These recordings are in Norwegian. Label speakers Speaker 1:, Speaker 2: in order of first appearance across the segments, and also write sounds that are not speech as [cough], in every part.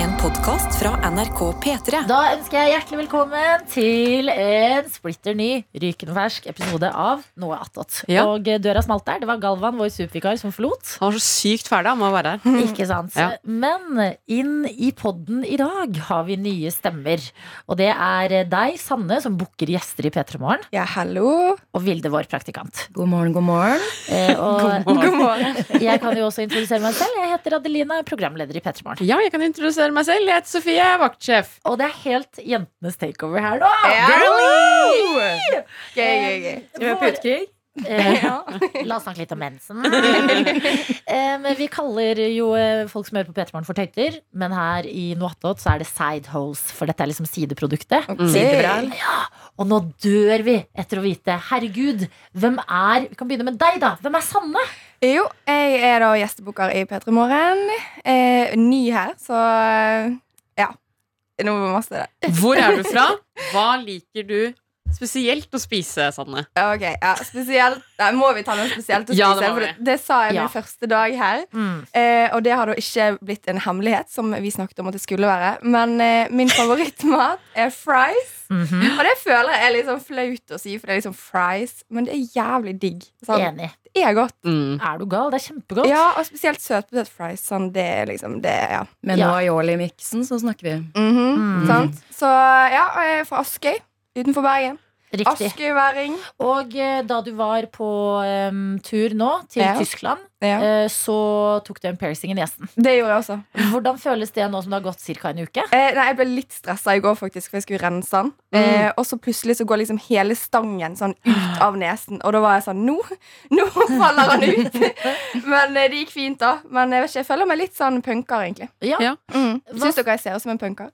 Speaker 1: En podkast fra NRK P3.
Speaker 2: Da ønsker jeg hjertelig velkommen til en splitter ny, rykenfersk episode av Noe attåt.
Speaker 3: Ja.
Speaker 2: Og eh, døra smalt der. Det var Galvan, vår supervikar, som forlot.
Speaker 3: Han var så sykt ferdig med å være her.
Speaker 2: Ikke sant?
Speaker 3: Ja.
Speaker 2: Men inn i podden i dag har vi nye stemmer. Og det er eh, deg, Sanne, som booker gjester i P3 Morgen,
Speaker 4: Ja, hallo.
Speaker 2: og Vilde, vår praktikant.
Speaker 4: God morgen, god morgen.
Speaker 2: Eh, Og
Speaker 4: God morgen.
Speaker 2: jeg kan jo også introdusere meg selv. Jeg heter Adelina, er programleder i P3 Morgen.
Speaker 3: Ja, jeg kan introdusere meg selv. Jeg heter Sofie, jeg er vaktsjef.
Speaker 2: Og det er helt jentenes takeover her nå.
Speaker 4: Gøy, gøy, gøy.
Speaker 2: Skal vi ha putekrig? [laughs] Eh, La oss snakke litt om mensen. [laughs] eh, men vi kaller jo eh, folk som hører på Petermann for tøyter, men her i Noatot så er det sidehose, for dette er liksom sideproduktet.
Speaker 4: Mm. Sidebral.
Speaker 2: Og nå dør vi etter å vite Herregud, hvem er Vi kan begynne med deg, da. Hvem er Sanne?
Speaker 4: Jo, jeg er da gjestebukker i P3 Morgen. Eh, ny her, så eh, ja. Nå må vi masse det.
Speaker 3: Hvor er du fra? Hva liker du spesielt å spise, Sanne?
Speaker 4: Ok, ja, spesielt Nei, må vi ta noe spesielt å spise?
Speaker 3: Ja, det må
Speaker 4: for
Speaker 3: vi.
Speaker 4: det, det sa jeg min
Speaker 2: Ja.
Speaker 4: første dag her. Eh, og det har da ikke blitt en hemmelighet, som vi snakket om at det skulle være. Men eh, min favorittmat er fries.
Speaker 2: Mhm.
Speaker 4: Og det føler jeg er litt sånn flaut å si, for det er liksom fries. Men det er jævlig digg. Sånn,
Speaker 2: Enig.
Speaker 4: det er godt.
Speaker 3: Mm.
Speaker 2: Er du gal? Det er kjempegodt.
Speaker 4: Ja, og spesielt søtpotet fries. Sånn, det er liksom det, ja.
Speaker 5: Med
Speaker 2: Ja.
Speaker 5: Noaioli i miksen så snakker vi.
Speaker 4: Mhm,
Speaker 2: Mm.
Speaker 4: Sant? Så ja, og jeg er fra Askøy. Utenfor Bergen.
Speaker 2: Riktig.
Speaker 4: Askøyværing.
Speaker 2: Og eh, da du var på em, tur nå til
Speaker 4: Ja.
Speaker 2: Tyskland,
Speaker 4: Ja.
Speaker 2: eh, så tok du en piercing i nesen.
Speaker 4: Det gjorde jeg også.
Speaker 2: Hvordan føles det nå som det har gått ca. en uke?
Speaker 4: Eh, nei, Jeg ble litt stressa i går, faktisk, for jeg skulle rense den.
Speaker 2: Mm.
Speaker 4: Eh, og så plutselig så går liksom hele stangen sånn ut av nesen, og da var jeg sånn Nå nå faller
Speaker 2: [laughs]
Speaker 4: han ut! Men eh, det gikk fint, da. Men jeg vet ikke, jeg føler meg litt sånn punker, egentlig.
Speaker 2: Ja.
Speaker 3: Ja.
Speaker 4: Mm.
Speaker 2: Hva-
Speaker 4: Syns dere jeg ser ut som en punker?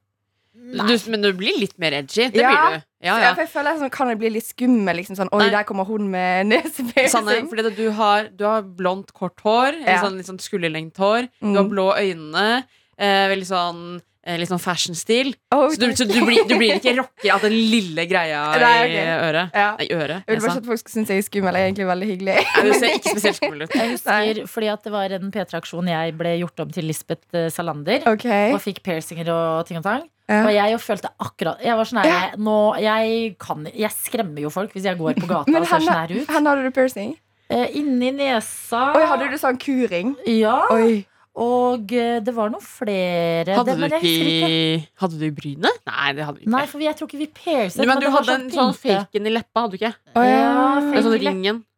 Speaker 3: Du, men du blir litt mer edgy. Det
Speaker 4: Ja.
Speaker 3: blir du. Ja,
Speaker 4: Ja,
Speaker 3: ja.
Speaker 4: for jeg føler sånn, Kan jeg bli litt skummel? Liksom sånn, Oi,
Speaker 3: Nei.
Speaker 4: der kommer hun med
Speaker 3: Sanne,
Speaker 4: [laughs] nesepiercing.
Speaker 3: fordi du har, du har blondt, kort hår. eller
Speaker 4: Ja.
Speaker 3: Sånn, litt sånn skulderlengt hår.
Speaker 4: Mm.
Speaker 3: Du har blå øyne. Eh, veldig sånn eh, Litt sånn fashion-stil.
Speaker 4: Oh,
Speaker 3: Så, du, så du, blir, du blir ikke rocker av den lille greia
Speaker 4: [laughs] Nei,
Speaker 3: i øret.
Speaker 4: ja.
Speaker 3: Nei, øret.
Speaker 4: Jeg vil bare
Speaker 3: Nesa.
Speaker 4: ikke at folk skal synes jeg er skummel. Jeg er egentlig veldig hyggelig. [laughs]
Speaker 3: Nei, Du ser ikke spesielt skummel ut.
Speaker 2: Jeg husker fordi at det var en P3-aksjon jeg ble gjort om til Lisbeth eh, Salander.
Speaker 4: Ok
Speaker 2: Og fikk piercinger og ting og tang.
Speaker 4: Ja.
Speaker 2: Og jeg jo følte akkurat Jeg var sånn her jeg, nå, jeg, kan, jeg skremmer jo folk hvis jeg går
Speaker 4: [laughs]
Speaker 2: på gata
Speaker 4: Men
Speaker 2: og ser
Speaker 4: henne-
Speaker 2: sånn her ut.
Speaker 4: Hvor hadde du piercing?
Speaker 2: Eh, Inni nesa
Speaker 4: Oi, hadde du sånn kuring?
Speaker 2: Ja.
Speaker 4: Oi.
Speaker 2: Og eh, det var noen flere
Speaker 3: Hadde
Speaker 2: det,
Speaker 3: du
Speaker 2: men jeg
Speaker 3: ikke,
Speaker 2: husker ikke.
Speaker 3: Hadde du brynet? Nei, det hadde du ikke.
Speaker 2: Nei, for jeg tror ikke vi piercet.
Speaker 3: Du, men du
Speaker 2: det var
Speaker 3: hadde en sånn
Speaker 2: pynte.
Speaker 3: faken i leppa, hadde du ikke?
Speaker 4: Å,
Speaker 2: Ja,
Speaker 3: En sånn
Speaker 2: fake leppe,
Speaker 3: ringen.
Speaker 2: ja.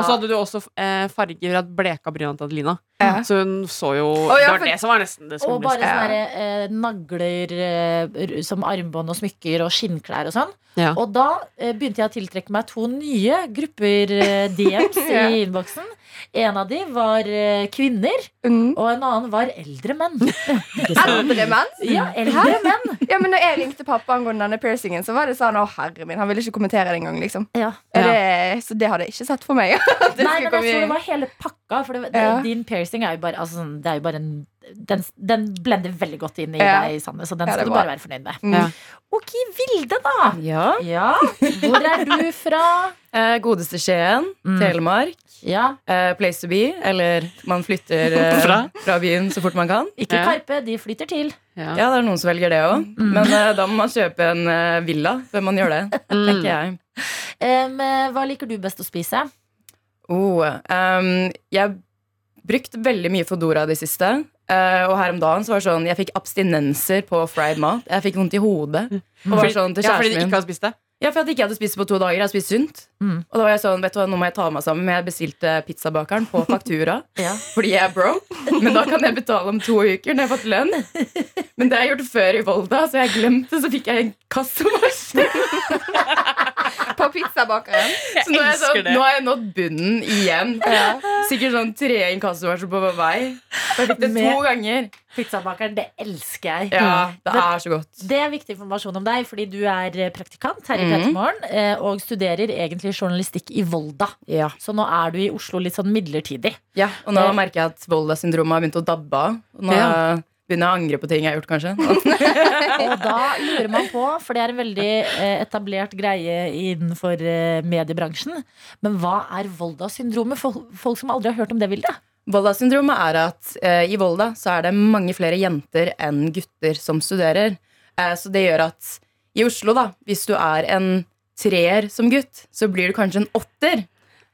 Speaker 3: Og så hadde du også eh, farger av bleka bryna til Adelina.
Speaker 4: Ja.
Speaker 3: Så hun så jo
Speaker 4: Å, ja,
Speaker 3: Det var
Speaker 4: for-
Speaker 3: det som var nesten det
Speaker 2: Og bare
Speaker 3: skumleste.
Speaker 2: sånne der, eh, nagler eh, r- som armbånd og smykker og skinnklær og sånn.
Speaker 3: Ja.
Speaker 2: Og da eh, begynte jeg å tiltrekke meg to nye grupper
Speaker 4: [laughs]
Speaker 2: eh, DMs
Speaker 4: Ja.
Speaker 2: i innboksen. En av de var eh, kvinner,
Speaker 4: Mm.
Speaker 2: og en annen var eldre
Speaker 4: [laughs]
Speaker 2: menn.
Speaker 4: Eldre menn?
Speaker 2: Ja, eldre menn.
Speaker 4: Ja, men da jeg ringte pappa angående denne piercingen, så var det sånn Å, herre min. Han ville ikke kommentere det engang, liksom.
Speaker 2: Ja.
Speaker 4: Er det, så det hadde jeg ikke sett for meg. [laughs] at det
Speaker 2: Nei,
Speaker 4: skulle
Speaker 2: men jeg
Speaker 4: komme
Speaker 2: tror det
Speaker 4: inn.
Speaker 2: var hele pakka. For det, det,
Speaker 4: Ja.
Speaker 2: din piercing er jo bare, altså, sånn, det er jo bare en den, den blender veldig godt inn i
Speaker 4: Ja.
Speaker 2: deg, Sanne, så den
Speaker 4: Ja, det
Speaker 2: skal
Speaker 4: er
Speaker 2: du
Speaker 4: bra.
Speaker 2: bare være fornøyd med.
Speaker 4: Mm.
Speaker 3: Ja.
Speaker 2: Ok, Vilde, da.
Speaker 5: Ja.
Speaker 2: Ja, Hvor er du fra?
Speaker 4: [laughs]
Speaker 5: Eh, godeste Skien,
Speaker 2: Mm.
Speaker 5: Telemark.
Speaker 2: Ja,
Speaker 5: Eh, place to be, eller man flytter eh,
Speaker 3: [laughs] Fra?
Speaker 5: fra? byen så fort man kan.
Speaker 2: Ikke
Speaker 3: Ja.
Speaker 2: Karpe, de flytter til.
Speaker 3: Ja. Mm.
Speaker 5: Ja, det er noen som velger det òg. Men eh, da må man kjøpe en eh, villa før man gjør
Speaker 3: [laughs]
Speaker 5: det, tenker jeg.
Speaker 2: Em, eh, hva liker du best å spise?
Speaker 5: Oh, ehm, jeg har brukt veldig mye Fodora de siste. eh, og her om dagen så var det sånn Jeg fikk abstinenser på fried mat. Jeg fikk vondt i hodet. Og var
Speaker 3: Mm. Fordi,
Speaker 5: sånn til
Speaker 3: ja, fordi
Speaker 5: kjæresten
Speaker 3: du
Speaker 5: min
Speaker 3: ikke hadde spist det?
Speaker 5: Ja, for at jeg ikke hadde spist på to dager. Jeg hadde spist sunt.
Speaker 2: Mm.
Speaker 5: Og da var jeg sånn, vet du hva, nå må jeg ta meg sammen. Men jeg bestilte pizzabakeren
Speaker 3: [laughs]
Speaker 5: på faktura.
Speaker 2: Ja.
Speaker 5: Fordi jeg er broke. Men da kan jeg betale om to uker når jeg har fått lønn. Men det har jeg gjort før i Volda, så jeg glemte det. Så fikk jeg en kassevarsel.
Speaker 4: På pizzabakeren.
Speaker 3: Jeg
Speaker 5: Så nå har jeg,
Speaker 3: elsker
Speaker 5: sånn,
Speaker 3: det.
Speaker 5: nå har jeg nådd bunnen igjen. Sikkert sånn tre inkassovarsler på vår vei. Og jeg fikk det
Speaker 2: Med-
Speaker 5: to ganger.
Speaker 2: Pizzabakeren, det elsker jeg.
Speaker 5: Ja,
Speaker 3: Mm.
Speaker 5: det er så godt.
Speaker 2: Det er viktig informasjon om deg, fordi du er eh, praktikant her i
Speaker 5: Mhm.
Speaker 2: Petermorgen eh, og studerer egentlig journalistikk i Volda.
Speaker 5: Ja.
Speaker 2: Så nå er du i Oslo litt sånn midlertidig.
Speaker 5: ja og nå merker jeg at Volda-syndromet har begynt å dabbe av. Og Nå
Speaker 3: Ja.
Speaker 5: begynner jeg å angre på ting jeg har gjort, kanskje.
Speaker 2: Og da lurer man på, for det er en veldig eh, etablert greie innenfor eh, mediebransjen, men hva er Volda-syndromet? Fol- Folk som aldri har hørt om det, Vilde?
Speaker 5: Volda-syndromet er at eh, i Volda så er det mange flere jenter enn gutter som studerer. Eh, så det gjør at i Oslo, da, hvis du er en treer som gutt, så blir du kanskje en åtter.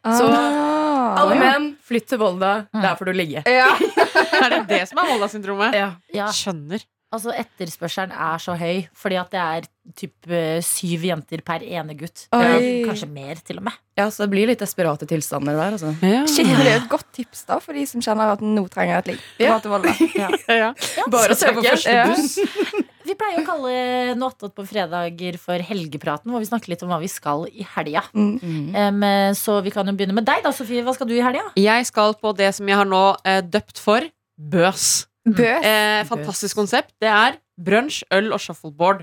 Speaker 5: Så alle menn, flytt til Volda. Der får du ligge.
Speaker 2: [laughs]
Speaker 4: Ja.
Speaker 3: Er det det som er Volda-syndromet?
Speaker 5: [laughs] Ja.
Speaker 2: Ja,
Speaker 3: Skjønner.
Speaker 2: altså etterspørselen er så høy, fordi at det er typ eh, syv jenter per ene gutt.
Speaker 4: Oi.
Speaker 2: Eh, Kanskje mer, til og med.
Speaker 5: ja, så det blir litt desperate tilstander der, altså.
Speaker 4: Shit, men Det er jo et godt tips da for de som kjenner at nå trenger jeg et ligg. Dra til
Speaker 2: [laughs]
Speaker 4: Volda.
Speaker 3: [laughs] Ja.
Speaker 5: Bare å
Speaker 3: Se på
Speaker 5: søke.
Speaker 3: første
Speaker 5: Ja.
Speaker 3: buss.
Speaker 2: Vi pleier å kalle Nåttot på fredager for Helgepraten, hvor vi snakker litt om hva vi skal i helga.
Speaker 4: Mm.
Speaker 5: Mm.
Speaker 2: Em, eh, så vi kan jo begynne med deg, da, Sofie. Hva skal du i helga?
Speaker 3: Jeg skal på det som jeg har nå eh, døpt for Bøs.
Speaker 4: Bøs.
Speaker 3: Eh, fantastisk konsept. Det er brunsj, øl og shuffleboard.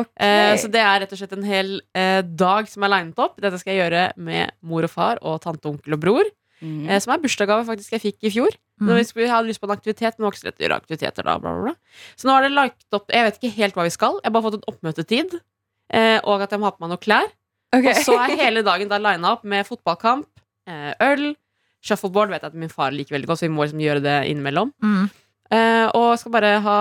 Speaker 4: Ok.
Speaker 3: Eh, så det er rett og slett en hel eh, dag som er linet opp. Dette skal jeg gjøre med mor og far og tante, onkel og bror.
Speaker 5: Mm.
Speaker 3: Eh, som er bursdagsgave faktisk jeg fikk i fjor. Når vi skulle ha lyst på en aktivitet, men det var ikke så lett å gjøre aktiviteter da. Bla, bla, bla. Så nå er det lagt opp Jeg vet ikke helt hva vi skal. Jeg har bare fått en oppmøtetid. Eh, og at jeg må ha på meg noen klær.
Speaker 4: Ok.
Speaker 3: Og så er hele dagen da lina opp med fotballkamp, eh, øl, shuffleboard vet jeg at min far liker veldig godt, så vi må liksom gjøre det innimellom.
Speaker 2: Mm.
Speaker 3: Eh, og skal bare ha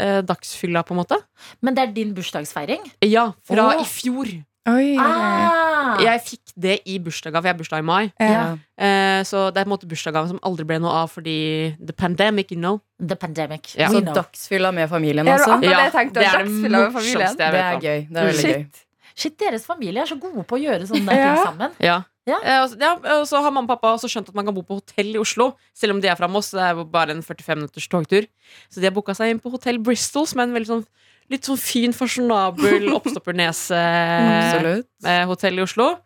Speaker 3: eh, dagsfylla, på en måte.
Speaker 2: Men det er din bursdagsfeiring.
Speaker 3: Ja, fra
Speaker 2: Åh.
Speaker 3: i fjor.
Speaker 4: [laughs] Oi.
Speaker 2: Ah!
Speaker 3: Jeg fikk det i bursdagsgave. Jeg har bursdag i mai.
Speaker 4: Ja.
Speaker 5: Ja.
Speaker 3: Eh, så det er på en måte bursdagsgave som aldri ble noe av fordi the pandemic, you know.
Speaker 2: The pandemic.
Speaker 3: Ja.
Speaker 5: Så
Speaker 2: We know.
Speaker 5: dagsfylla med familien,
Speaker 4: Ja, det var akkurat
Speaker 5: altså.
Speaker 4: det jeg tenkte.
Speaker 3: det er det
Speaker 4: Dagsfylla med familien.
Speaker 3: morsomste jeg
Speaker 5: Det
Speaker 3: vet
Speaker 5: er
Speaker 3: om.
Speaker 5: gøy. Det er veldig gøy.
Speaker 4: Shit.
Speaker 2: Shit, deres familie er så gode på å gjøre sånne der
Speaker 4: Ja.
Speaker 2: ting sammen.
Speaker 3: Ja.
Speaker 2: Ja.
Speaker 3: Eh, og så- ja, og så har mamma og pappa også skjønt at man kan bo på hotell i Oslo. Selv om de er fra Moss, så det er jo bare en 45 minutters togtur. Så de har booka seg inn på Hotell Bristol, som er en veldig sånn litt sånn fin,
Speaker 4: [laughs]
Speaker 3: fasjonabel Eh, oppstoppernes-hotell
Speaker 5: Absolutt.
Speaker 3: i Oslo.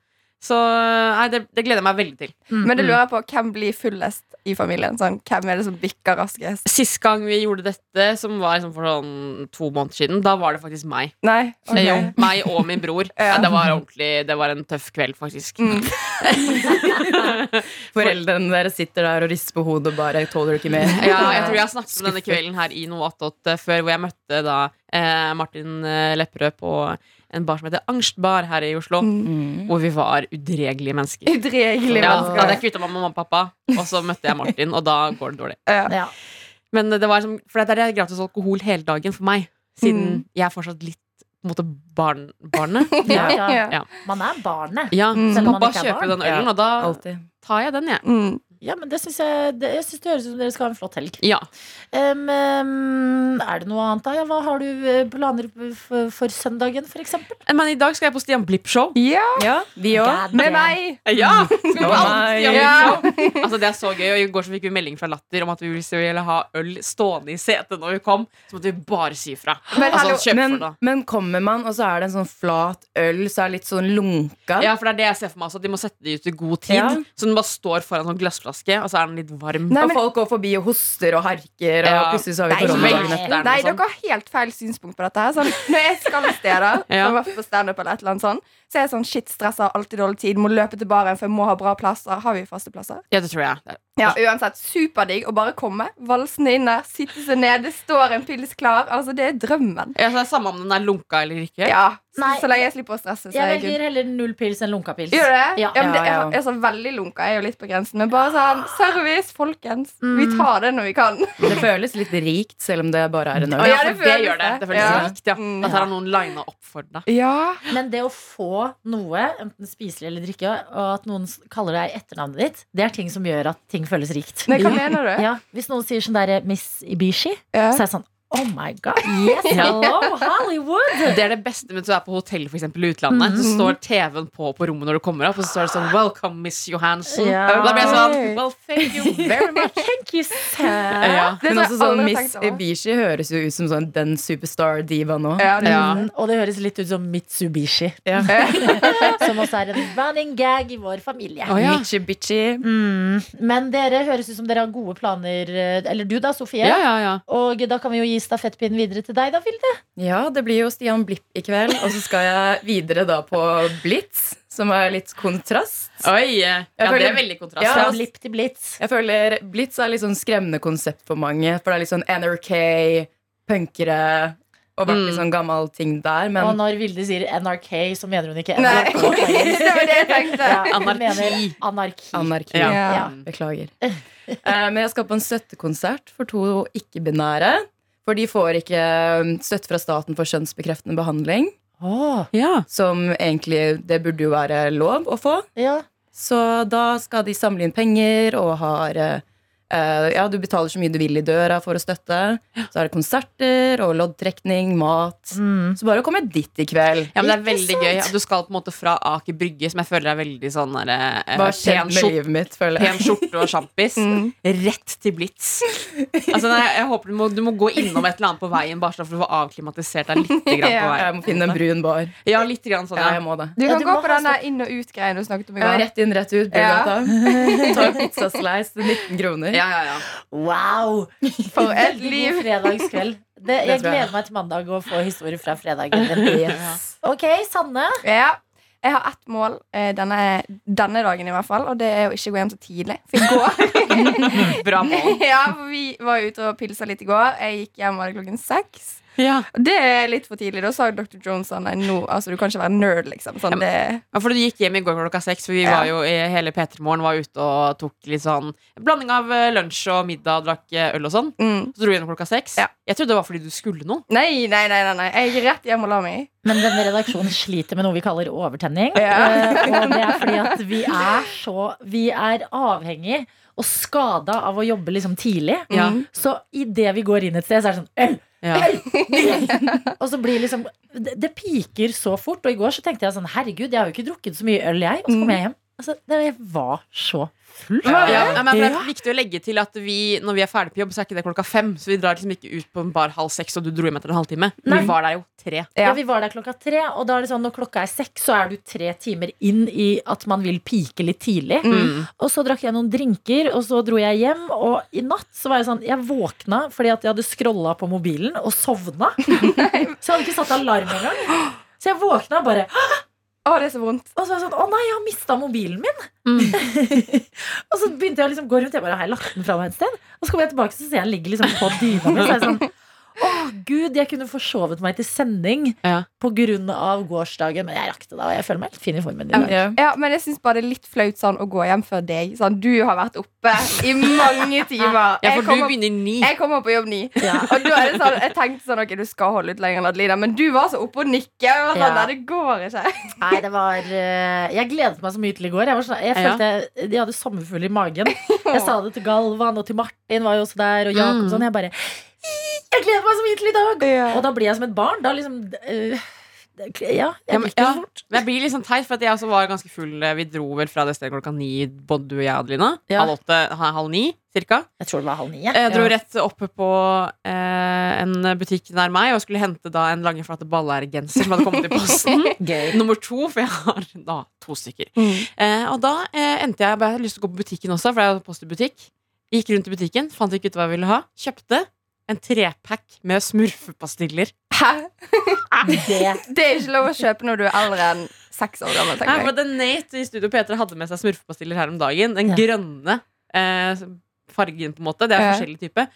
Speaker 3: Så eh, nei, det, det gleder jeg meg veldig til.
Speaker 2: Mm.
Speaker 4: Men det lurer jeg på, hvem blir fullest i familien? Sånn, hvem er det som bikker raskest?
Speaker 3: Sist gang vi gjorde dette, som var liksom for sånn to måneder siden, da var det faktisk meg.
Speaker 4: Nei? ok.
Speaker 3: Eh, Jo, meg og min bror.
Speaker 4: [laughs] Ja.
Speaker 3: ja. Det var ordentlig, det var en tøff kveld, faktisk.
Speaker 4: Mm.
Speaker 5: Foreldrene deres sitter der og rister på hodet og bare tåler du ikke mer.
Speaker 2: [laughs]
Speaker 3: Ja, jeg tror jeg har snakket om denne kvelden her i noe attåt eh, før, hvor jeg møtte da eh, Martin eh, Lepperød på en bar som heter Angst Bar her i Oslo.
Speaker 4: Mm.
Speaker 5: Mm.
Speaker 3: Hvor vi var udregelige mennesker.
Speaker 4: Udregelige
Speaker 3: Ja, da hadde
Speaker 4: mennesker.
Speaker 3: jeg kvittet meg med mamma og pappa, og så møtte jeg Martin, og da går det dårlig.
Speaker 2: Ja.
Speaker 3: Men det var som, for der er gratis alkohol hele dagen for meg, siden
Speaker 2: Mm.
Speaker 3: jeg er fortsatt litt på en måte barn,
Speaker 2: [laughs]
Speaker 3: barnet.
Speaker 2: Ja, ja.
Speaker 4: [laughs] Ja.
Speaker 3: Ja.
Speaker 2: Man er barnet.
Speaker 3: Ja,
Speaker 4: Mm.
Speaker 3: Så
Speaker 2: Selv om man
Speaker 3: pappa
Speaker 2: ikke er
Speaker 3: kjøper
Speaker 2: barn.
Speaker 3: den ølen, og da
Speaker 5: Alltid.
Speaker 3: tar jeg den, jeg.
Speaker 4: Mm.
Speaker 2: Ja, men det synes jeg, det, jeg synes det høres ut som dere skal ha en flott helg.
Speaker 3: Ja.
Speaker 2: Em, em, er det noe annet da? Ja, hva har du eh, planer for, for søndagen, for eksempel?
Speaker 3: Men i dag skal jeg på Stian Blipp-show.
Speaker 4: ja,
Speaker 5: Ja, vi òg.
Speaker 2: God
Speaker 4: med
Speaker 2: damn.
Speaker 4: meg!
Speaker 3: Ja! Skal vi på
Speaker 5: Å,
Speaker 3: alle
Speaker 5: nei.
Speaker 3: Stian
Speaker 4: Ja. [laughs]
Speaker 3: Blipp-show? Altså, det er så gøy. Og I går så fikk vi melding fra Latter om at vi ville ha øl stående i setet når vi kom. Så måtte vi bare si fra.
Speaker 4: Men hallo,
Speaker 3: Altså, kjøp
Speaker 5: Men,
Speaker 3: for det.
Speaker 5: men kommer man, og så er det en sånn flat øl, så er det litt sånn lunka.
Speaker 3: Ja, for det er det jeg ser for meg også. At de må sette det ut i god tid.
Speaker 5: Ja.
Speaker 3: Så den bare står foran en sånn glassflaske, og så er den litt varm.
Speaker 4: Nei,
Speaker 5: og
Speaker 4: men-
Speaker 5: folk går forbi og hoster og harker, og
Speaker 3: Ja.
Speaker 5: plutselig så har vi
Speaker 2: Nei,
Speaker 5: korona.
Speaker 2: men-
Speaker 3: Velter den
Speaker 4: Nei,
Speaker 3: og
Speaker 4: dere
Speaker 3: sånn.
Speaker 4: har helt feil synspunkt på dette. her sånn, [laughs] Når jeg skal steder,
Speaker 5: [laughs]
Speaker 3: Ja.
Speaker 4: som på stand-up eller et eller annet sånt, så er jeg sånn shit, stressa, alltid dårlig tid, må løpe til baren, for jeg må ha bra plasser. Har vi faste plasser?
Speaker 3: Ja, det tror jeg.
Speaker 4: Ja, uansett, superdigg å bare komme, valsende inn der, sitte seg ned, det står en pils klar. Altså, det er drømmen.
Speaker 3: Ja, så det er samme om den er lunka eller ikke.
Speaker 4: Ja, så,
Speaker 2: Nei.
Speaker 4: så lenge jeg slipper å stresse, så
Speaker 2: Jeg
Speaker 4: er jeg good.
Speaker 2: velger heller null pils enn lunka pils.
Speaker 4: Gjør du det?
Speaker 2: Ja.
Speaker 4: Ja, men det
Speaker 5: Ja, ja.
Speaker 4: jeg er så veldig lunka, jeg er jo litt på grensen, men bare sånn
Speaker 2: Ah.
Speaker 4: service, folkens. Vi
Speaker 2: Mm.
Speaker 4: tar det når vi kan.
Speaker 5: Det føles litt rikt, selv om det bare er en
Speaker 3: Å,
Speaker 5: øl.
Speaker 3: ja,
Speaker 4: Ja, det
Speaker 3: for det
Speaker 4: føles
Speaker 3: gjør det.
Speaker 4: det.
Speaker 3: Det føles
Speaker 4: Ja.
Speaker 3: rikt, ja.
Speaker 4: Mm.
Speaker 3: At her har noen lina opp for deg.
Speaker 4: Ja.
Speaker 2: Men det å få noe, enten spiselig eller drikke, og at noen s- kaller deg etternavnet ditt, det er ting som gjør at ting føles rikt.
Speaker 4: Men hva mener du?
Speaker 2: Ja, hvis noen sier sånn derre Miss Ibishi,
Speaker 4: Ja.
Speaker 2: så er jeg sånn Oh my god, yes, hello, Hollywood!
Speaker 3: Det er det beste mens du er på hotell for eksempel, i utlandet. Så står TV-en på på rommet når du kommer opp, og så står det sånn Welcome, Miss Johansen.
Speaker 2: Ja.
Speaker 3: Og Da blir jeg sånn
Speaker 4: Ok.
Speaker 3: Well, thank you very
Speaker 5: [laughs]
Speaker 3: much.
Speaker 2: Thank you, sir.
Speaker 3: Ja.
Speaker 4: Det tror jeg
Speaker 5: Men også sånn
Speaker 4: aldri jeg
Speaker 5: Miss
Speaker 4: tenkte over.
Speaker 5: Ibishi høres jo ut som sånn den superstar-diva nå.
Speaker 4: Ja, det,
Speaker 3: Ja.
Speaker 2: Mm, og det høres litt ut som Mitsubishi, [laughs]
Speaker 5: Ja.
Speaker 2: som også er en running gag i vår familie.
Speaker 3: Å, ja.
Speaker 5: Mitsubishi.
Speaker 2: Mm, men dere høres ut som dere har gode planer, eh, eller du da, Sofie.
Speaker 3: Ja, ja, ja.
Speaker 2: Og da kan vi jo gi stafettpinnen videre til deg, da, Vilde.
Speaker 5: Ja, det blir jo Stian Blipp i kveld, og så skal jeg videre da på Blitz, som er litt kontrast.
Speaker 3: Oi! eh, Ja,
Speaker 5: føler-
Speaker 3: det er veldig kontrast.
Speaker 5: Ja,
Speaker 2: Fra
Speaker 3: Ja.
Speaker 5: ass.
Speaker 2: blipp til blitz.
Speaker 5: Jeg føler Blitz er litt sånn skremmende konsept for mange. For det er litt sånn NRK, punkere og vært
Speaker 3: Mm.
Speaker 5: litt sånn gammel ting der, men
Speaker 2: Og når Vilde sier NRK, så mener hun ikke
Speaker 4: Nei,
Speaker 2: NRK. [laughs]
Speaker 4: [laughs] det var det jeg tenkte.
Speaker 2: Ja, hun
Speaker 3: Anarki.
Speaker 2: mener Anarki.
Speaker 5: anarki.
Speaker 3: Ja.
Speaker 2: Ja.
Speaker 5: Beklager. Eh, men jeg skal på en støttekonsert for to ikke-binære. For de får ikke um, støtte fra staten for kjønnsbekreftende behandling.
Speaker 2: Åh,
Speaker 3: Ja.
Speaker 5: Som egentlig det burde jo være lov å få.
Speaker 2: ja.
Speaker 5: Så da skal de samle inn penger og har eh, eh, Ja, du betaler så mye du vil i døra for å støtte. Så er det konserter og loddtrekning, mat.
Speaker 2: Mm.
Speaker 5: Så bare å komme dit i kveld.
Speaker 3: Ja, men Det er veldig gøy at du skal på en måte fra Aker Brygge, som jeg føler er veldig sånn der, eh, pen,
Speaker 5: Hva skjedde med
Speaker 3: skjorte,
Speaker 5: livet mitt, føler
Speaker 3: [laughs]
Speaker 5: jeg.
Speaker 3: pen skjorte og sjampis, rett til Blitz. Altså, nei, jeg håper du må, du må gå innom et eller annet på veien, bare sånn for å få avklimatisert deg litt. [laughs] Grann på
Speaker 4: Ja.
Speaker 5: Jeg
Speaker 3: veien.
Speaker 5: må finne en brun bar.
Speaker 3: Ja, litt grann sånn,
Speaker 5: Ja, jeg
Speaker 3: ja.
Speaker 5: må det.
Speaker 4: Du
Speaker 2: Ja,
Speaker 4: kan
Speaker 2: du
Speaker 4: gå
Speaker 2: må
Speaker 4: på
Speaker 2: ha
Speaker 4: den der inn- og ut-greien du snakket om i
Speaker 5: Ja,
Speaker 4: går.
Speaker 5: rett inn, rett ut.
Speaker 4: Ja.
Speaker 5: Brugata. Ta en pizzaslice til 19 kroner.
Speaker 3: Ja, ja, ja.
Speaker 2: Wow! [laughs]
Speaker 4: For et
Speaker 2: Veldig
Speaker 4: liv.
Speaker 2: God fredagskveld. Det, jeg
Speaker 5: tror jeg.
Speaker 2: gleder meg til mandag å få historier fra fredagen. din.
Speaker 5: Yes.
Speaker 2: Ok, Sanne.
Speaker 4: Ja. Jeg har ett mål eh, denne, denne dagen, i hvert fall og det er å ikke gå hjem så tidlig. For i går
Speaker 3: Bra mål.
Speaker 4: [laughs] Ja, for vi var ute og pilsa litt i går. Jeg gikk hjem var det klokken seks.
Speaker 3: Ja.
Speaker 4: Og Det er litt for tidlig. Da sa dr. Jones sånn Nei, nå, altså, du kan ikke være nerd, liksom. Sånn, det,
Speaker 3: Ja, for Du gikk hjem i går klokka seks, for vi var jo i hele P3morgen var ute og tok litt sånn blanding av eh, lunsj og middag og drakk eh, øl og sånn.
Speaker 4: mm.
Speaker 3: Så dro vi hjem klokka seks.
Speaker 4: Ja.
Speaker 3: Jeg trodde det var fordi du skulle noe.
Speaker 4: Nei, nei, nei, nei, nei. Jeg gikk rett hjem og la meg.
Speaker 2: Men denne redaksjonen sliter med noe vi kaller overtenning.
Speaker 4: Ja.
Speaker 2: Eh, Og det er fordi at vi er så Vi er avhengig og skada av å jobbe liksom tidlig.
Speaker 3: Ja.
Speaker 2: Så idet vi går inn et sted, så er det sånn øl!
Speaker 3: Ja.
Speaker 2: Og så blir liksom det, det piker så fort. Og i går så tenkte jeg sånn Herregud, jeg har jo ikke drukket så mye øl, jeg. Og så kom jeg hjem. Altså, det jeg var så full.
Speaker 3: Ja, nei, men det
Speaker 2: Ja.
Speaker 3: er viktig å legge til at vi, når vi er ferdig på jobb, så er ikke det klokka fem. Så vi drar liksom ikke ut på en bar halv seks, og du dro hjem etter en halvtime.
Speaker 2: Nei.
Speaker 3: Vi var der jo tre.
Speaker 2: Ja.
Speaker 4: Ja.
Speaker 2: vi var der klokka tre, og da er det sånn når klokka er seks, så er du tre timer inn i at man vil pike litt tidlig.
Speaker 3: Mm.
Speaker 2: Og så drakk jeg noen drinker, og så dro jeg hjem. Og i natt så var jeg sånn Jeg våkna fordi at jeg hadde scrolla på mobilen og sovna.
Speaker 3: [laughs]
Speaker 2: så jeg hadde ikke satt alarm engang. Så jeg våkna bare,
Speaker 4: Å, det er så vondt.
Speaker 2: og så var jeg sånn Å nei, jeg har mista mobilen min!
Speaker 3: Mm.
Speaker 2: [laughs] og så begynte jeg å liksom gå rundt. Jeg bare Har jeg lagt den fra meg et sted? Og så kommer jeg tilbake, så ser jeg den ligger liksom på dyna mi. Så er jeg sånn Å gud, jeg kunne forsovet meg til sending
Speaker 3: Ja.
Speaker 2: på grunn av gårsdagen. Men jeg rakk det da, og jeg føler meg helt fin i formen. i dag.
Speaker 5: Ja.
Speaker 4: Ja, men jeg syns bare det er litt flaut sånn å gå hjem før deg. Sånn, du har vært oppe i mange timer.
Speaker 3: ja, for
Speaker 4: Jeg kommer-
Speaker 3: du begynner ni.
Speaker 4: Jeg kommer på jobb ni.
Speaker 2: Ja.
Speaker 4: Og da er det sånn, jeg tenkte sånn, ok, du skal holde ut lenger enn Adelina, men du var så oppe og nikke. og Jeg var
Speaker 2: Ja.
Speaker 4: sånn, nei, det går ikke.
Speaker 2: Nei, det var eh, Jeg gledet meg så mye til i går. Jeg, var sånn, jeg
Speaker 3: Ja.
Speaker 2: følte jeg, jeg hadde sommerfugl i magen. Jeg sa det til Galvan, og til Martin var jo også der, og Jakob
Speaker 3: Mm.
Speaker 2: sånn. Jeg bare Jeg gleder meg så mye til i dag! Og da blir jeg som et barn. Da liksom eh, det- Ja.
Speaker 3: Ja,
Speaker 2: Jeg
Speaker 3: men,
Speaker 2: fikk
Speaker 3: ja.
Speaker 2: det fort.
Speaker 3: men jeg blir litt sånn teit, for at jeg også var ganske full. eh, Vi dro vel fra det stedet klokka ni, både du og jeg, Adelina.
Speaker 2: Ja.
Speaker 3: Halv åtte, halv ni, cirka.
Speaker 2: Jeg tror det var halv ni. jeg.
Speaker 3: Jeg Eh, dro
Speaker 5: Ja.
Speaker 3: rett oppe på eh, en butikk nær meg og skulle hente da en lange, flate ballæregenser som hadde kommet
Speaker 2: [laughs]
Speaker 3: i posten.
Speaker 2: Gøy.
Speaker 3: Nummer to, for jeg har da to stykker. Eh, og da eh, endte jeg bare jeg hadde lyst til å gå på butikken også, for jeg hadde post i butikk. Gikk rundt i butikken, fant ikke ut hva jeg ville ha. Kjøpte en trepack med smurfepastiller.
Speaker 4: Hæ?
Speaker 2: Ah. Det
Speaker 4: Det er ikke lov å kjøpe når du er eldre enn seks år gammel,
Speaker 3: Nei,
Speaker 4: tenker
Speaker 3: for
Speaker 4: jeg.
Speaker 3: det Nate i Studio P3 hadde med seg smurfepastiller her om dagen. Den
Speaker 2: Ja.
Speaker 3: grønne eh, fargen, på en måte. Det er
Speaker 4: Ja.
Speaker 3: forskjellig type.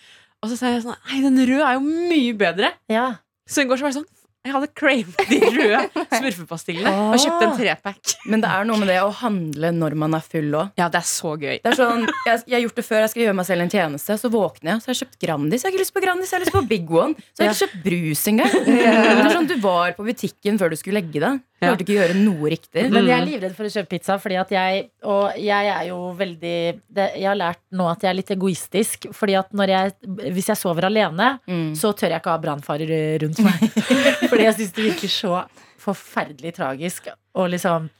Speaker 3: Og så sa jeg sånn Nei, den røde er jo mye bedre.
Speaker 2: Ja.
Speaker 3: Så i går så var det sånn Jeg hadde cravet de røde [laughs] smurfepastillene og kjøpte en trepack.
Speaker 5: Men det er noe med det å handle når man er full òg.
Speaker 3: Ja, det er så gøy.
Speaker 5: Det er sånn, jeg, jeg har gjort det før, jeg skal gjøre meg selv en tjeneste. Så våkner jeg, så har jeg kjøpt Grandis. Jeg har ikke lyst på Grandis, jeg har lyst på Big One. Så har jeg ikke kjøpt brus engang. Det er sånn, Du var på butikken før du skulle legge deg. Du
Speaker 3: Ja. Mm.
Speaker 5: klarte ikke å gjøre noe riktig.
Speaker 2: Men jeg er livredd for å kjøpe pizza, fordi at jeg Og jeg er jo veldig det, Jeg har lært nå at jeg er litt egoistisk. Fordi at når jeg, hvis jeg sover alene,
Speaker 5: Mm.
Speaker 2: så tør jeg ikke ha brannfarer eh, rundt
Speaker 4: [laughs]
Speaker 2: meg. fordi jeg syns det virker så forferdelig tragisk å liksom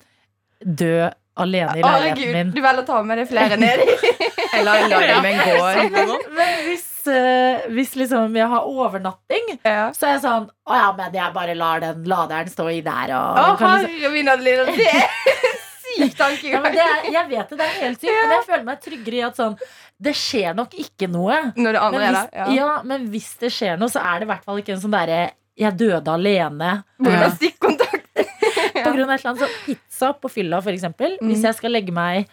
Speaker 2: dø alene i
Speaker 4: Å, herregud,
Speaker 2: leiligheten min.
Speaker 4: du velger å ta med deg flere ned.
Speaker 5: Eller lager meg en gård.
Speaker 2: Men hvis, eh, hvis liksom jeg har overnatting,
Speaker 4: [laughs] Ja.
Speaker 2: så er jeg sånn Å ja, men jeg bare lar den laderen stå i der, og
Speaker 4: Å,
Speaker 2: kan liksom
Speaker 4: herre min, Adelina, det er [laughs] syk
Speaker 2: Ja, men
Speaker 4: tankegang.
Speaker 2: det er, jeg vet det, det er helt sykt, men jeg føler meg tryggere i at sånn Det skjer nok ikke noe.
Speaker 4: Når
Speaker 2: Men
Speaker 4: det andre er
Speaker 2: hvis,
Speaker 4: der.
Speaker 2: ja.
Speaker 4: Ja.
Speaker 2: men hvis det skjer noe, så er det i hvert fall ikke en sånn derre jeg døde alene.
Speaker 4: Hvor det
Speaker 3: Ja.
Speaker 4: er stikkontakt.
Speaker 2: På grunn av et eller annet, så pizza på fylla, for eksempel. Hvis jeg skal legge meg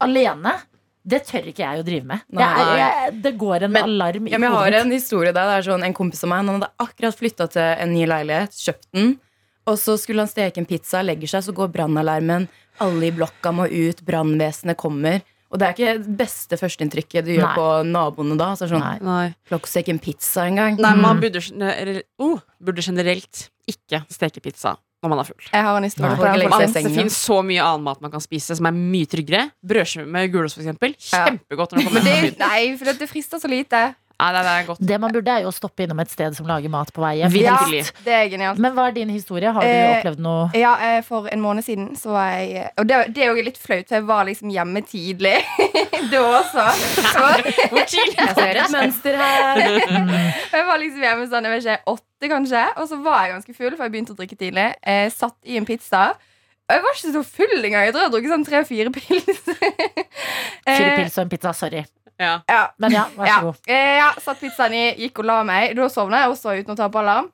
Speaker 2: alene, Det tør ikke jeg å drive med. Det,
Speaker 5: Nei.
Speaker 2: er, jeg, det går en
Speaker 5: Men-
Speaker 2: alarm i
Speaker 5: Ja, men jeg har
Speaker 2: hodet mitt.
Speaker 5: en historie der. Det er sånn, En kompis av meg han hadde akkurat flytta til en ny leilighet, kjøpt den. Og så skulle han steke en pizza, legger seg, så går brannalarmen. Alle i blokka må ut, brannvesenet kommer. Og det er ikke det beste førsteinntrykket du gjør
Speaker 2: Nei.
Speaker 5: på naboene da. Så er det
Speaker 2: Nei.
Speaker 5: sånn,
Speaker 3: Nei. Mm.
Speaker 5: Klokk å steke en pizza engang.
Speaker 3: Nei, man burde, gener- oh, burde generelt ikke steke pizza når man er full.
Speaker 4: Jeg har en historie
Speaker 5: Nei.
Speaker 4: på den.
Speaker 5: Legge
Speaker 3: Man,
Speaker 5: seg i
Speaker 4: faktisk.
Speaker 3: det
Speaker 5: sengen.
Speaker 3: finnes så mye annen mat man kan spise som er mye tryggere. Brødskive med gulost, for eksempel.
Speaker 4: Ja.
Speaker 3: Kjempegodt. når det
Speaker 4: Men
Speaker 3: kommer
Speaker 4: det,
Speaker 3: fra byen.
Speaker 4: nei, for det frister så lite.
Speaker 3: Nei, nei, det er godt.
Speaker 2: Det man burde, er jo å stoppe innom et sted som lager mat på vei hjem.
Speaker 3: Virkelig.
Speaker 4: Ja, det er genialt.
Speaker 2: Men hva er din historie? Har du
Speaker 4: Eh,
Speaker 2: opplevd noe
Speaker 4: Ja, eh, for en måned siden så var jeg eh, Og det, det er jo litt flaut, for jeg var liksom hjemme tidlig [laughs] da også. Så,
Speaker 3: Hvor
Speaker 4: [laughs]
Speaker 3: chill.
Speaker 5: Jeg ser et mønster her.
Speaker 2: [laughs] Mm.
Speaker 4: jeg var liksom hjemme sånn, jeg vet ikke, åtte kanskje, og så var jeg ganske full, for jeg begynte å drikke tidlig. Jeg satt i en pizza. Og jeg var ikke så full engang. Jeg tror jeg har drukket sånn tre-fire pils. [laughs]
Speaker 2: Fire
Speaker 4: Eh,
Speaker 2: pils og en pizza, sorry.
Speaker 3: Ja.
Speaker 4: Ja.
Speaker 2: Men ja, vær så
Speaker 4: Ja.
Speaker 2: god.
Speaker 4: Eh, ja, satt pizzaen i, gikk og la meg. Da sovna jeg også uten å ta på alarm.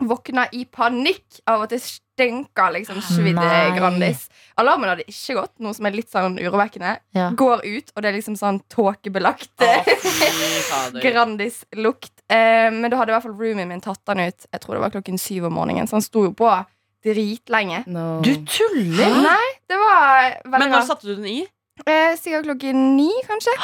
Speaker 4: Våkna i panikk av at det stenka liksom svidd eh,
Speaker 2: Nei.
Speaker 4: Grandis. Alarmen hadde ikke gått, noe som er litt sånn urovekkende.
Speaker 2: Ja.
Speaker 4: Går ut, og det er liksom sånn tåkebelagt [laughs] eh, Grandis-lukt. Eh, men da hadde i hvert fall roomien min tatt den ut. Jeg tror det var klokken syv om morgenen, så han sto jo på dritlenge.
Speaker 5: No.
Speaker 2: Du tuller!
Speaker 4: Nei, det var veldig
Speaker 3: Men når
Speaker 4: rart.
Speaker 3: satte du den i?
Speaker 4: Eh, sikkert klokken ni, kanskje.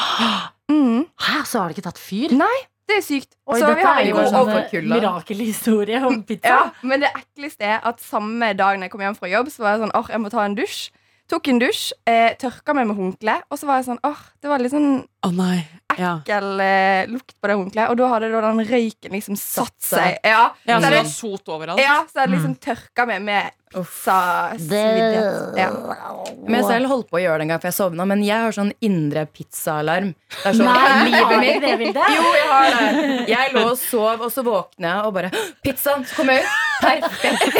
Speaker 4: Mm.
Speaker 2: Hæ, så har det ikke tatt fyr?
Speaker 4: Nei. Det er sykt.
Speaker 2: Oi,
Speaker 4: så vi
Speaker 2: dette
Speaker 4: har
Speaker 2: er
Speaker 4: en
Speaker 2: jo en
Speaker 5: god
Speaker 4: god
Speaker 5: sånn
Speaker 2: sånn
Speaker 4: over
Speaker 5: overkulla.
Speaker 2: mirakelhistorie om pizza.
Speaker 4: Ja, men det ekleste er at samme dag når jeg kom hjem fra jobb, Så var jeg sånn, åh, jeg må ta en dusj. Tok en dusj, eh, tørka meg med håndkle, og så var jeg sånn, åh, det var litt sånn
Speaker 3: Å nei. Ja.
Speaker 4: ekkel eh, lukt på det håndkleet. Og da hadde da den røyken liksom satt
Speaker 5: seg.
Speaker 4: seg. Ja,
Speaker 3: ja, så
Speaker 4: så
Speaker 3: det
Speaker 4: jeg,
Speaker 3: var sot overalt?
Speaker 4: ja, så jeg hadde liksom tørka meg med
Speaker 2: Det
Speaker 4: pizzasviddighet. Ja.
Speaker 5: Men jeg selv holdt på å gjøre det en gang, for jeg sovna. Men jeg har sånn indre pizzaalarm. Det er sånn,
Speaker 2: Nei,
Speaker 5: livet
Speaker 2: har
Speaker 5: mitt
Speaker 2: ikke det bildet?
Speaker 5: Jo, jeg har det. Jeg lå og sov, og så våkner jeg og bare «Hå, Pizzaen! Så kom jeg ut. Perfekt.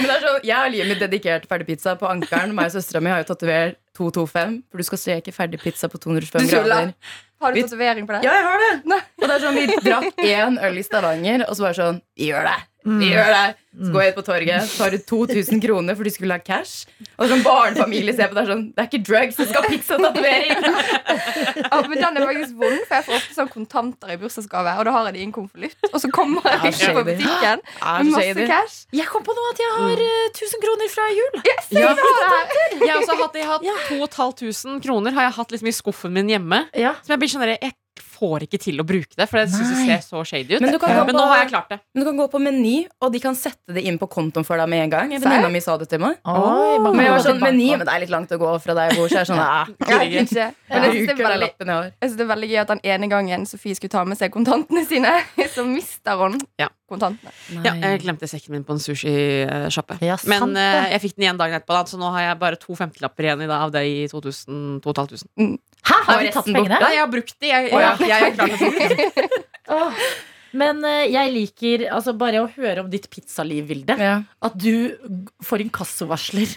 Speaker 5: Men det er så, jeg har livet mitt dedikert ferdigpizza på ankelen. Meg og søstera mi har jo tatovert 225, for du skal steke ferdigpizza på 225
Speaker 4: Du tuller.
Speaker 5: grader.
Speaker 4: Har du
Speaker 5: Vi-
Speaker 4: tatovering på det?
Speaker 5: Ja, jeg har det. Og det er sånn, Vi drakk én øl i Stavanger, og så bare sånn Vi gjør det. Vi gjør det. Så går jeg ut på torget, så tar du 2000 kroner for du skulle ha cash. Og sånn barnefamilie ser på det er sånn Det er ikke drugs, du skal ha pizzatatovering.
Speaker 4: [laughs] Ja, men den er faktisk vond, for jeg får ofte sånn kontanter i bursdagsgave, og da har jeg det i en konvolutt, og så kommer
Speaker 5: Ja,
Speaker 4: jeg ikke på
Speaker 5: shady.
Speaker 4: butikken
Speaker 5: Er
Speaker 4: med
Speaker 5: så
Speaker 4: masse
Speaker 5: shady.
Speaker 4: cash.
Speaker 2: Jeg kom på nå at jeg har eh, 1000 kroner fra jul.
Speaker 3: Ja. Jeg har også hatt, jeg har hatt 2500 kroner har jeg hatt liksom i skuffen min hjemme.
Speaker 2: Ja.
Speaker 3: Som jeg blir sånn der, jeg får ikke til å bruke det, for jeg syns det
Speaker 2: Nei.
Speaker 3: ser så shady ut.
Speaker 5: Men du kan gå
Speaker 3: Men nå
Speaker 5: på-
Speaker 3: har jeg klart det.
Speaker 5: Men du kan gå på Meny, og de kan sette det inn på kontoen for deg med en gang. En Venninna mi sa det til meg.
Speaker 2: Oi, man kan
Speaker 5: Men jeg var
Speaker 2: gå til
Speaker 5: sånn, meny,
Speaker 2: banken.
Speaker 5: men det er litt langt å gå fra der jeg bor, så jeg er sånn "Ah,
Speaker 4: Ja, jeg vet ikke. Men jeg
Speaker 5: Jeg
Speaker 4: synes det er
Speaker 5: bruker den
Speaker 4: veldig
Speaker 5: lappen jeg har.
Speaker 4: Jeg synes det er veldig gøy at den ene gangen Sofie skulle ta med seg kontantene sine, [laughs] så mister hun
Speaker 3: Ja.
Speaker 4: kontantene.
Speaker 3: Ja,
Speaker 2: eh,
Speaker 3: jeg glemte sekken min på en sushisjappe.
Speaker 2: Ja,
Speaker 3: Men
Speaker 2: sant det.
Speaker 3: eh, jeg fikk den igjen dagen etterpå, da, så nå har jeg bare to femtelapper igjen i dag av det i 2000, 2500.
Speaker 2: Hæ, har
Speaker 5: Har
Speaker 2: du tatt
Speaker 5: resten
Speaker 2: pengene?
Speaker 3: Nei, jeg har brukt de. Jeg,
Speaker 5: Å, ja.
Speaker 3: jeg, jeg, er klar
Speaker 2: [laughs]
Speaker 3: til å bruke de.
Speaker 2: Åh. Men eh, jeg liker altså, bare å høre om ditt pizzaliv, Vilde.
Speaker 5: Ja.
Speaker 2: At du g- får inkassovarsler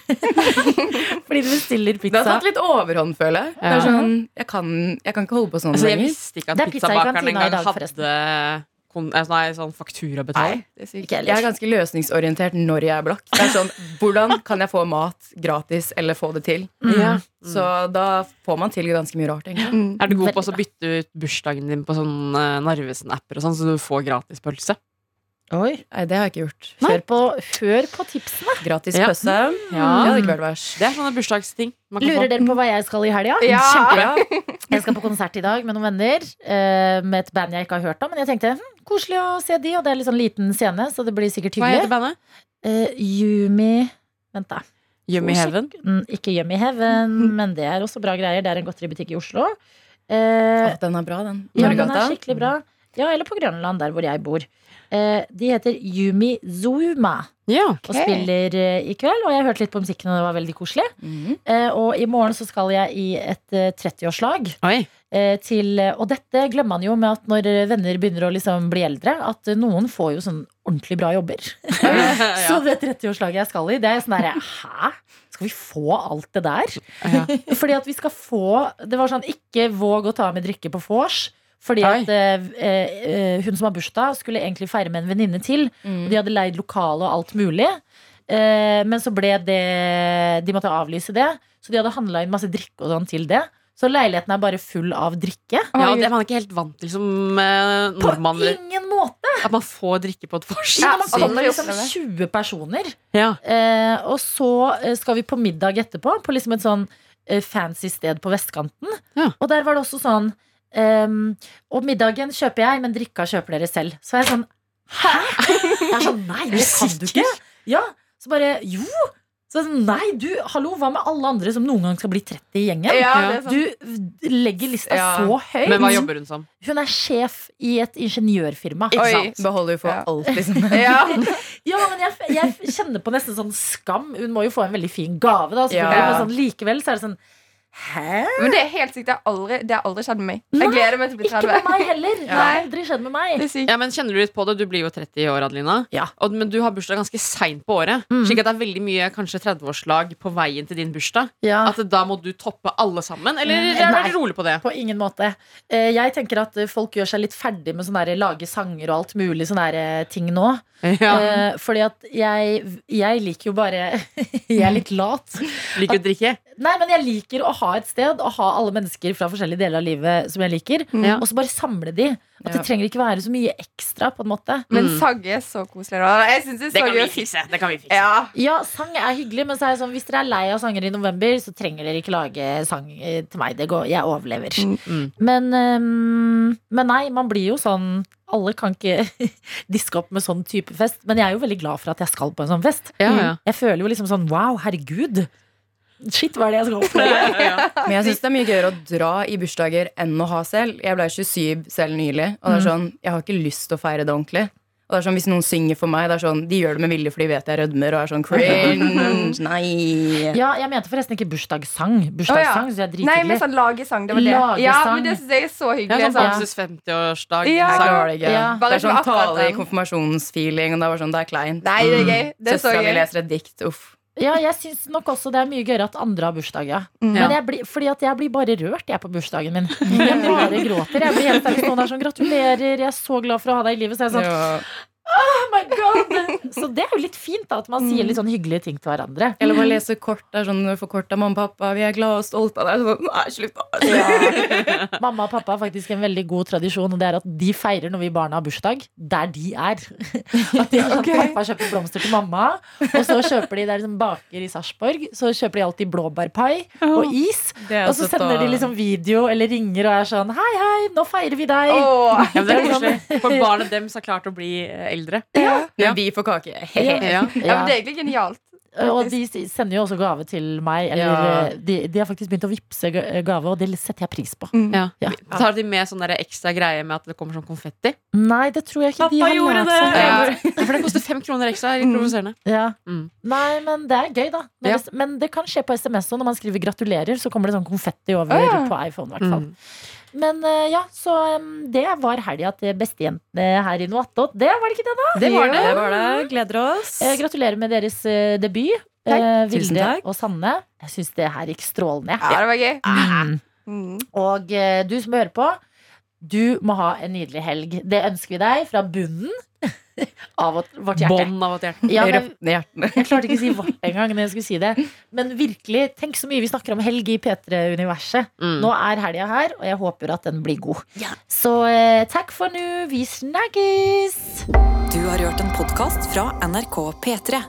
Speaker 2: [laughs] fordi du bestiller
Speaker 5: Det har
Speaker 2: pizza.
Speaker 5: tatt litt overhånd, føler jeg. Det
Speaker 3: Ja.
Speaker 5: er sånn, jeg kan, jeg kan ikke holde på sånn
Speaker 3: Altså, jeg
Speaker 5: lenger.
Speaker 3: visste ikke at
Speaker 2: Det er pizza i
Speaker 3: pizzabakeren
Speaker 2: kantina i
Speaker 3: engang
Speaker 2: dag, forresten.
Speaker 3: hadde kon eh, nei, sånn faktura betalt.
Speaker 4: Det er sykt.
Speaker 2: Ikke
Speaker 5: Jeg
Speaker 2: ellers.
Speaker 5: er ganske løsningsorientert når jeg er blakk. Det er sånn, Hvordan kan jeg få mat gratis, eller få det til?
Speaker 2: Mm.
Speaker 3: Ja.
Speaker 5: Så da får man til ganske mye rart, egentlig.
Speaker 4: Mm.
Speaker 3: Er du god
Speaker 2: Veldig
Speaker 3: på også å bytte ut bursdagen din på sånn eh, Narvesen-apper og sånn, så du får gratis pølse?
Speaker 2: Oi.
Speaker 5: Nei, det har jeg ikke gjort.
Speaker 2: Hør på, hør på tipsene.
Speaker 5: Gratis
Speaker 3: Ja.
Speaker 5: pøsse.
Speaker 3: Ja.
Speaker 5: Det hadde ikke vært verst.
Speaker 3: Det er sånne bursdagsting. man kan
Speaker 2: Lurer
Speaker 3: få.
Speaker 2: dere på hva jeg skal i helga?
Speaker 4: Ja.
Speaker 5: Kjempebra.
Speaker 2: Jeg skal på konsert i dag med noen venner eh, med et band jeg ikke har hørt om. Men jeg tenkte hm, koselig å se de, og det er litt sånn liten scene, så det blir sikkert
Speaker 3: Hva heter
Speaker 2: hyggelig.
Speaker 3: bandet?
Speaker 2: Eh, Yumi Vent, da.
Speaker 3: Yummy
Speaker 2: Koselig.
Speaker 3: Heaven.
Speaker 2: Mm, ikke Yummy
Speaker 3: [laughs]
Speaker 2: Heaven, men det er også bra greier. Det er en godteributikk i Oslo. Eh,
Speaker 5: Å, Den er bra, den.
Speaker 2: Ja, den er
Speaker 5: Norgata.
Speaker 2: skikkelig bra. Ja, eller på Grønland, der hvor jeg bor. Eh, de heter Yumi Zouma
Speaker 3: Ja.
Speaker 2: og spiller eh, i kveld. Og jeg hørte litt på musikken, og det var veldig koselig.
Speaker 5: Mhm.
Speaker 2: Eh, og i morgen så skal jeg i et eh, 30-årslag.
Speaker 3: Oi.
Speaker 2: eh, til Og dette glemmer man jo med at når eh, venner begynner å liksom bli eldre, at eh, noen får jo sånn ordentlig bra jobber. [laughs] Så
Speaker 3: [laughs] ja.
Speaker 2: det 30-årslaget jeg skal i, det er sånn derre Hæ? Skal vi få alt det der?
Speaker 3: Ja.
Speaker 2: Fordi at vi skal få Det var sånn, ikke våg å ta med drikke på vors. Fordi
Speaker 3: Oi.
Speaker 2: at eh,
Speaker 5: Mm.
Speaker 2: eh, hun som har bursdag, skulle egentlig feire med en venninne til. Og de hadde leid lokale og alt mulig. Eh, men så ble det De måtte avlyse det, så de hadde handla inn masse drikke og sånn til det. Så leiligheten er bare full av drikke.
Speaker 3: Ja, og det er man ikke helt vant til som eh,
Speaker 2: På
Speaker 3: nordmann.
Speaker 2: ingen måte!
Speaker 3: At man får drikke på et vors.
Speaker 4: Ja,
Speaker 2: Man
Speaker 4: sykt.
Speaker 2: kommer liksom
Speaker 4: Oppleve.
Speaker 2: 20 personer.
Speaker 3: Ja.
Speaker 2: Eh, og så eh, skal vi på middag etterpå, på liksom et sånn eh, fancy sted på vestkanten.
Speaker 3: Ja.
Speaker 2: Og der var det også sånn ehm, Og middagen kjøper jeg, men drikka kjøper dere selv. Så er jeg sånn Hæ?! Jeg er sånn, Nei, det kan du ikke! Ja, Så bare Jo! Så jeg er sånn, Nei, du, hallo, hva med alle andre som noen gang skal bli 30 i gjengen?
Speaker 4: Ja, sånn. det er sant.
Speaker 2: Du legger lista
Speaker 5: Ja.
Speaker 2: så
Speaker 3: Men hva
Speaker 2: høyt.
Speaker 3: jobber hun som?
Speaker 2: Hun er sjef i et ingeniørfirma.
Speaker 4: Oi.
Speaker 5: Beholder jo for
Speaker 4: Ja.
Speaker 5: alt, liksom.
Speaker 4: Ja.
Speaker 2: Ja, men jeg, jeg kjenner på nesten sånn skam. Hun må jo få en veldig fin gave, da. selvfølgelig,
Speaker 5: Ja.
Speaker 2: Men sånn, likevel så er det sånn Hæ?
Speaker 4: Men det er helt sykt. Det har aldri, det har aldri skjedd med meg. Jeg gleder meg til å bli
Speaker 2: Ikke med
Speaker 4: 30.
Speaker 2: meg heller. Det har
Speaker 4: Nei.
Speaker 2: aldri skjedd med meg.
Speaker 4: Det er sykt.
Speaker 3: Ja, men Kjenner du litt på det? Du blir jo 30 i år, Adelina.
Speaker 2: Ja.
Speaker 3: Og, men du har bursdag ganske seint på året. Slik at det er veldig mye kanskje 30-årslag på veien til din bursdag.
Speaker 2: Ja.
Speaker 3: At da må du toppe alle sammen? Eller
Speaker 2: Ah. Mm,
Speaker 3: er
Speaker 2: nei.
Speaker 3: du rolig på det?
Speaker 2: På ingen måte. Eh, Jeg tenker at eh, folk gjør seg litt ferdig med sånne der, lage sanger og alt mulig sånne der, eh, ting nå.
Speaker 3: Ja.
Speaker 2: Eh, Fordi at jeg, jeg liker jo bare [laughs] Jeg er litt lat.
Speaker 3: Liker du å drikke?
Speaker 2: Nei, men jeg liker å ha et sted og ha alle mennesker fra forskjellige deler av livet som jeg liker.
Speaker 3: Ja.
Speaker 2: Og så bare samle de. At
Speaker 5: Ja.
Speaker 2: det trenger ikke være så mye ekstra, på en måte.
Speaker 4: Men
Speaker 3: Mm.
Speaker 4: sagg er så koselig. Da. Jeg synes det er
Speaker 3: Det
Speaker 4: så
Speaker 3: kan vi
Speaker 4: gøy. å-
Speaker 3: fikse. Det kan vi fikse.
Speaker 4: Ja.
Speaker 2: Ja, sang er hyggelig, men så er jeg sånn, hvis dere er lei av sanger i november, så trenger dere ikke lage sang eh, til meg. Det går, jeg overlever.
Speaker 4: Mm.
Speaker 3: Mm.
Speaker 2: Men, ehm, men nei, man blir jo sånn Alle kan ikke [laughs] diske opp med sånn type fest, men jeg er jo veldig glad for at jeg skal på en sånn fest.
Speaker 3: Ja, ja.
Speaker 2: Jeg føler jo liksom sånn wow, herregud. Shit, hva er det jeg skal
Speaker 3: [laughs]
Speaker 2: oppleve?
Speaker 5: Men jeg syns det er mye gøyere å dra i bursdager enn å ha selv. Jeg ble 27 selv nylig, og det er sånn, jeg har ikke lyst til å feire det ordentlig. Og det er sånn, Hvis noen synger for meg, det er sånn, de gjør det med vilje for de vet jeg rødmer og er sånn cringe. Nei.
Speaker 2: Ja, jeg mente forresten ikke bursdagssang. Bursdagssang syns jeg er
Speaker 4: Nei, men
Speaker 2: drithyggelig.
Speaker 4: sånn lagesang. Det var det. Ja, men det
Speaker 2: Lagesang.
Speaker 4: synes jeg er så
Speaker 3: Ja,
Speaker 4: hyggelig.
Speaker 3: sånn
Speaker 4: Sånn.
Speaker 3: Bamses 50-årslag.
Speaker 4: Ja.
Speaker 5: Jeg
Speaker 3: sang.
Speaker 5: klarer det ikke.
Speaker 2: Ja.
Speaker 5: Det
Speaker 4: Bare
Speaker 5: er sånn
Speaker 4: ikke akkurat
Speaker 5: tale i
Speaker 4: den.
Speaker 5: konfirmasjonsfeeling, og det er bare sånn, det er kleint.
Speaker 4: Nei, det er gøy. Det er så
Speaker 5: Søstera mi
Speaker 4: gøy.
Speaker 5: leser et dikt. Uff.
Speaker 2: Ja, jeg syns nok også det er mye gøyere at andre har bursdag, ja. Men jeg blir, fordi at jeg blir bare rørt, jeg, på bursdagen min. Jeg bare gråter. Jeg blir helt ærlig sånn der sånn gratulerer, jeg er så glad for å ha deg i livet. Så, jeg er sånn,
Speaker 5: Ja.
Speaker 2: oh my God. så det er jo litt fint, da, at man sier litt sånn hyggelige ting til hverandre.
Speaker 5: Eller bare lese kort. Det er sånn, når du får kort av mamma og pappa. Vi er glade og stolte av deg. Sånn, nei, slutt da.
Speaker 2: [laughs] Mamma og pappa har faktisk en veldig god tradisjon, og det er at de feirer når vi barna har bursdag, der de er. [laughs] At de, at Pappa kjøper blomster til mamma, og så kjøper de der som baker i Sarpsborg, så kjøper de alltid blåbærpai og is,
Speaker 5: Det er
Speaker 2: og så
Speaker 5: altså
Speaker 2: sender
Speaker 5: da-
Speaker 2: de liksom video eller ringer og er sånn hei, hei, nå feirer vi deg. [laughs]
Speaker 4: Åh.
Speaker 5: [laughs]
Speaker 3: Ja, men det er koselig. For barnet deres har klart å bli eh, eldre.
Speaker 5: Men vi får kake. Hehe.
Speaker 3: Ja.
Speaker 4: Ja, men det er egentlig genialt.
Speaker 2: Og de sender jo også gave til meg. Eller
Speaker 5: Ja.
Speaker 2: eh, de, de har faktisk begynt å vippse ga- eh, gave, og det setter jeg pris på.
Speaker 3: Ja.
Speaker 2: Ja.
Speaker 3: Tar de med sånn der ekstra greie med at det kommer sånn konfetti?
Speaker 2: Nei, det tror jeg ikke de har lært seg.
Speaker 3: Ja. For det koster fem kroner ekstra. Litt provoserende.
Speaker 2: Ja.
Speaker 3: Mm.
Speaker 2: Nei, men det er gøy, da. Når
Speaker 3: Ja.
Speaker 2: det, men det kan skje på SMS òg. Når man skriver 'gratulerer', så kommer det sånn konfetti
Speaker 5: Ah,
Speaker 2: over
Speaker 4: Å, ja.
Speaker 2: på iPhone. i hvert fall
Speaker 5: Mm.
Speaker 2: Men eh, ja, så em, det var helga til bestejentene her i Noattot. Det var det ikke det, da?
Speaker 5: Det var det. det, var det. Gleder oss.
Speaker 2: Eh, gratulerer med deres eh, debut.
Speaker 4: Takk.
Speaker 2: Eh,
Speaker 5: Tusen
Speaker 2: Vilde
Speaker 5: takk.
Speaker 2: og Sanne. Jeg syns det her gikk strålende.
Speaker 4: Ja, det var gøy.
Speaker 2: Mm.
Speaker 4: Mm.
Speaker 2: Og eh, du som hører på, du må ha en nydelig helg. Det ønsker vi deg fra
Speaker 5: [laughs]
Speaker 2: bunnen av vårt- vårt hjerte.
Speaker 3: Bånd av et hjerte.
Speaker 2: Ja, men,
Speaker 5: Råtne hjertene.
Speaker 2: [laughs] Jeg klarte ikke å si vårt engang når jeg skulle si det. Men virkelig, tenk så mye vi snakker om helg i P3-universet.
Speaker 3: Mm.
Speaker 2: Nå er helga her, og jeg håper at den blir god. Så eh, takk for nå. Vi snakkes!
Speaker 1: Du har hørt en podkast fra NRK P3.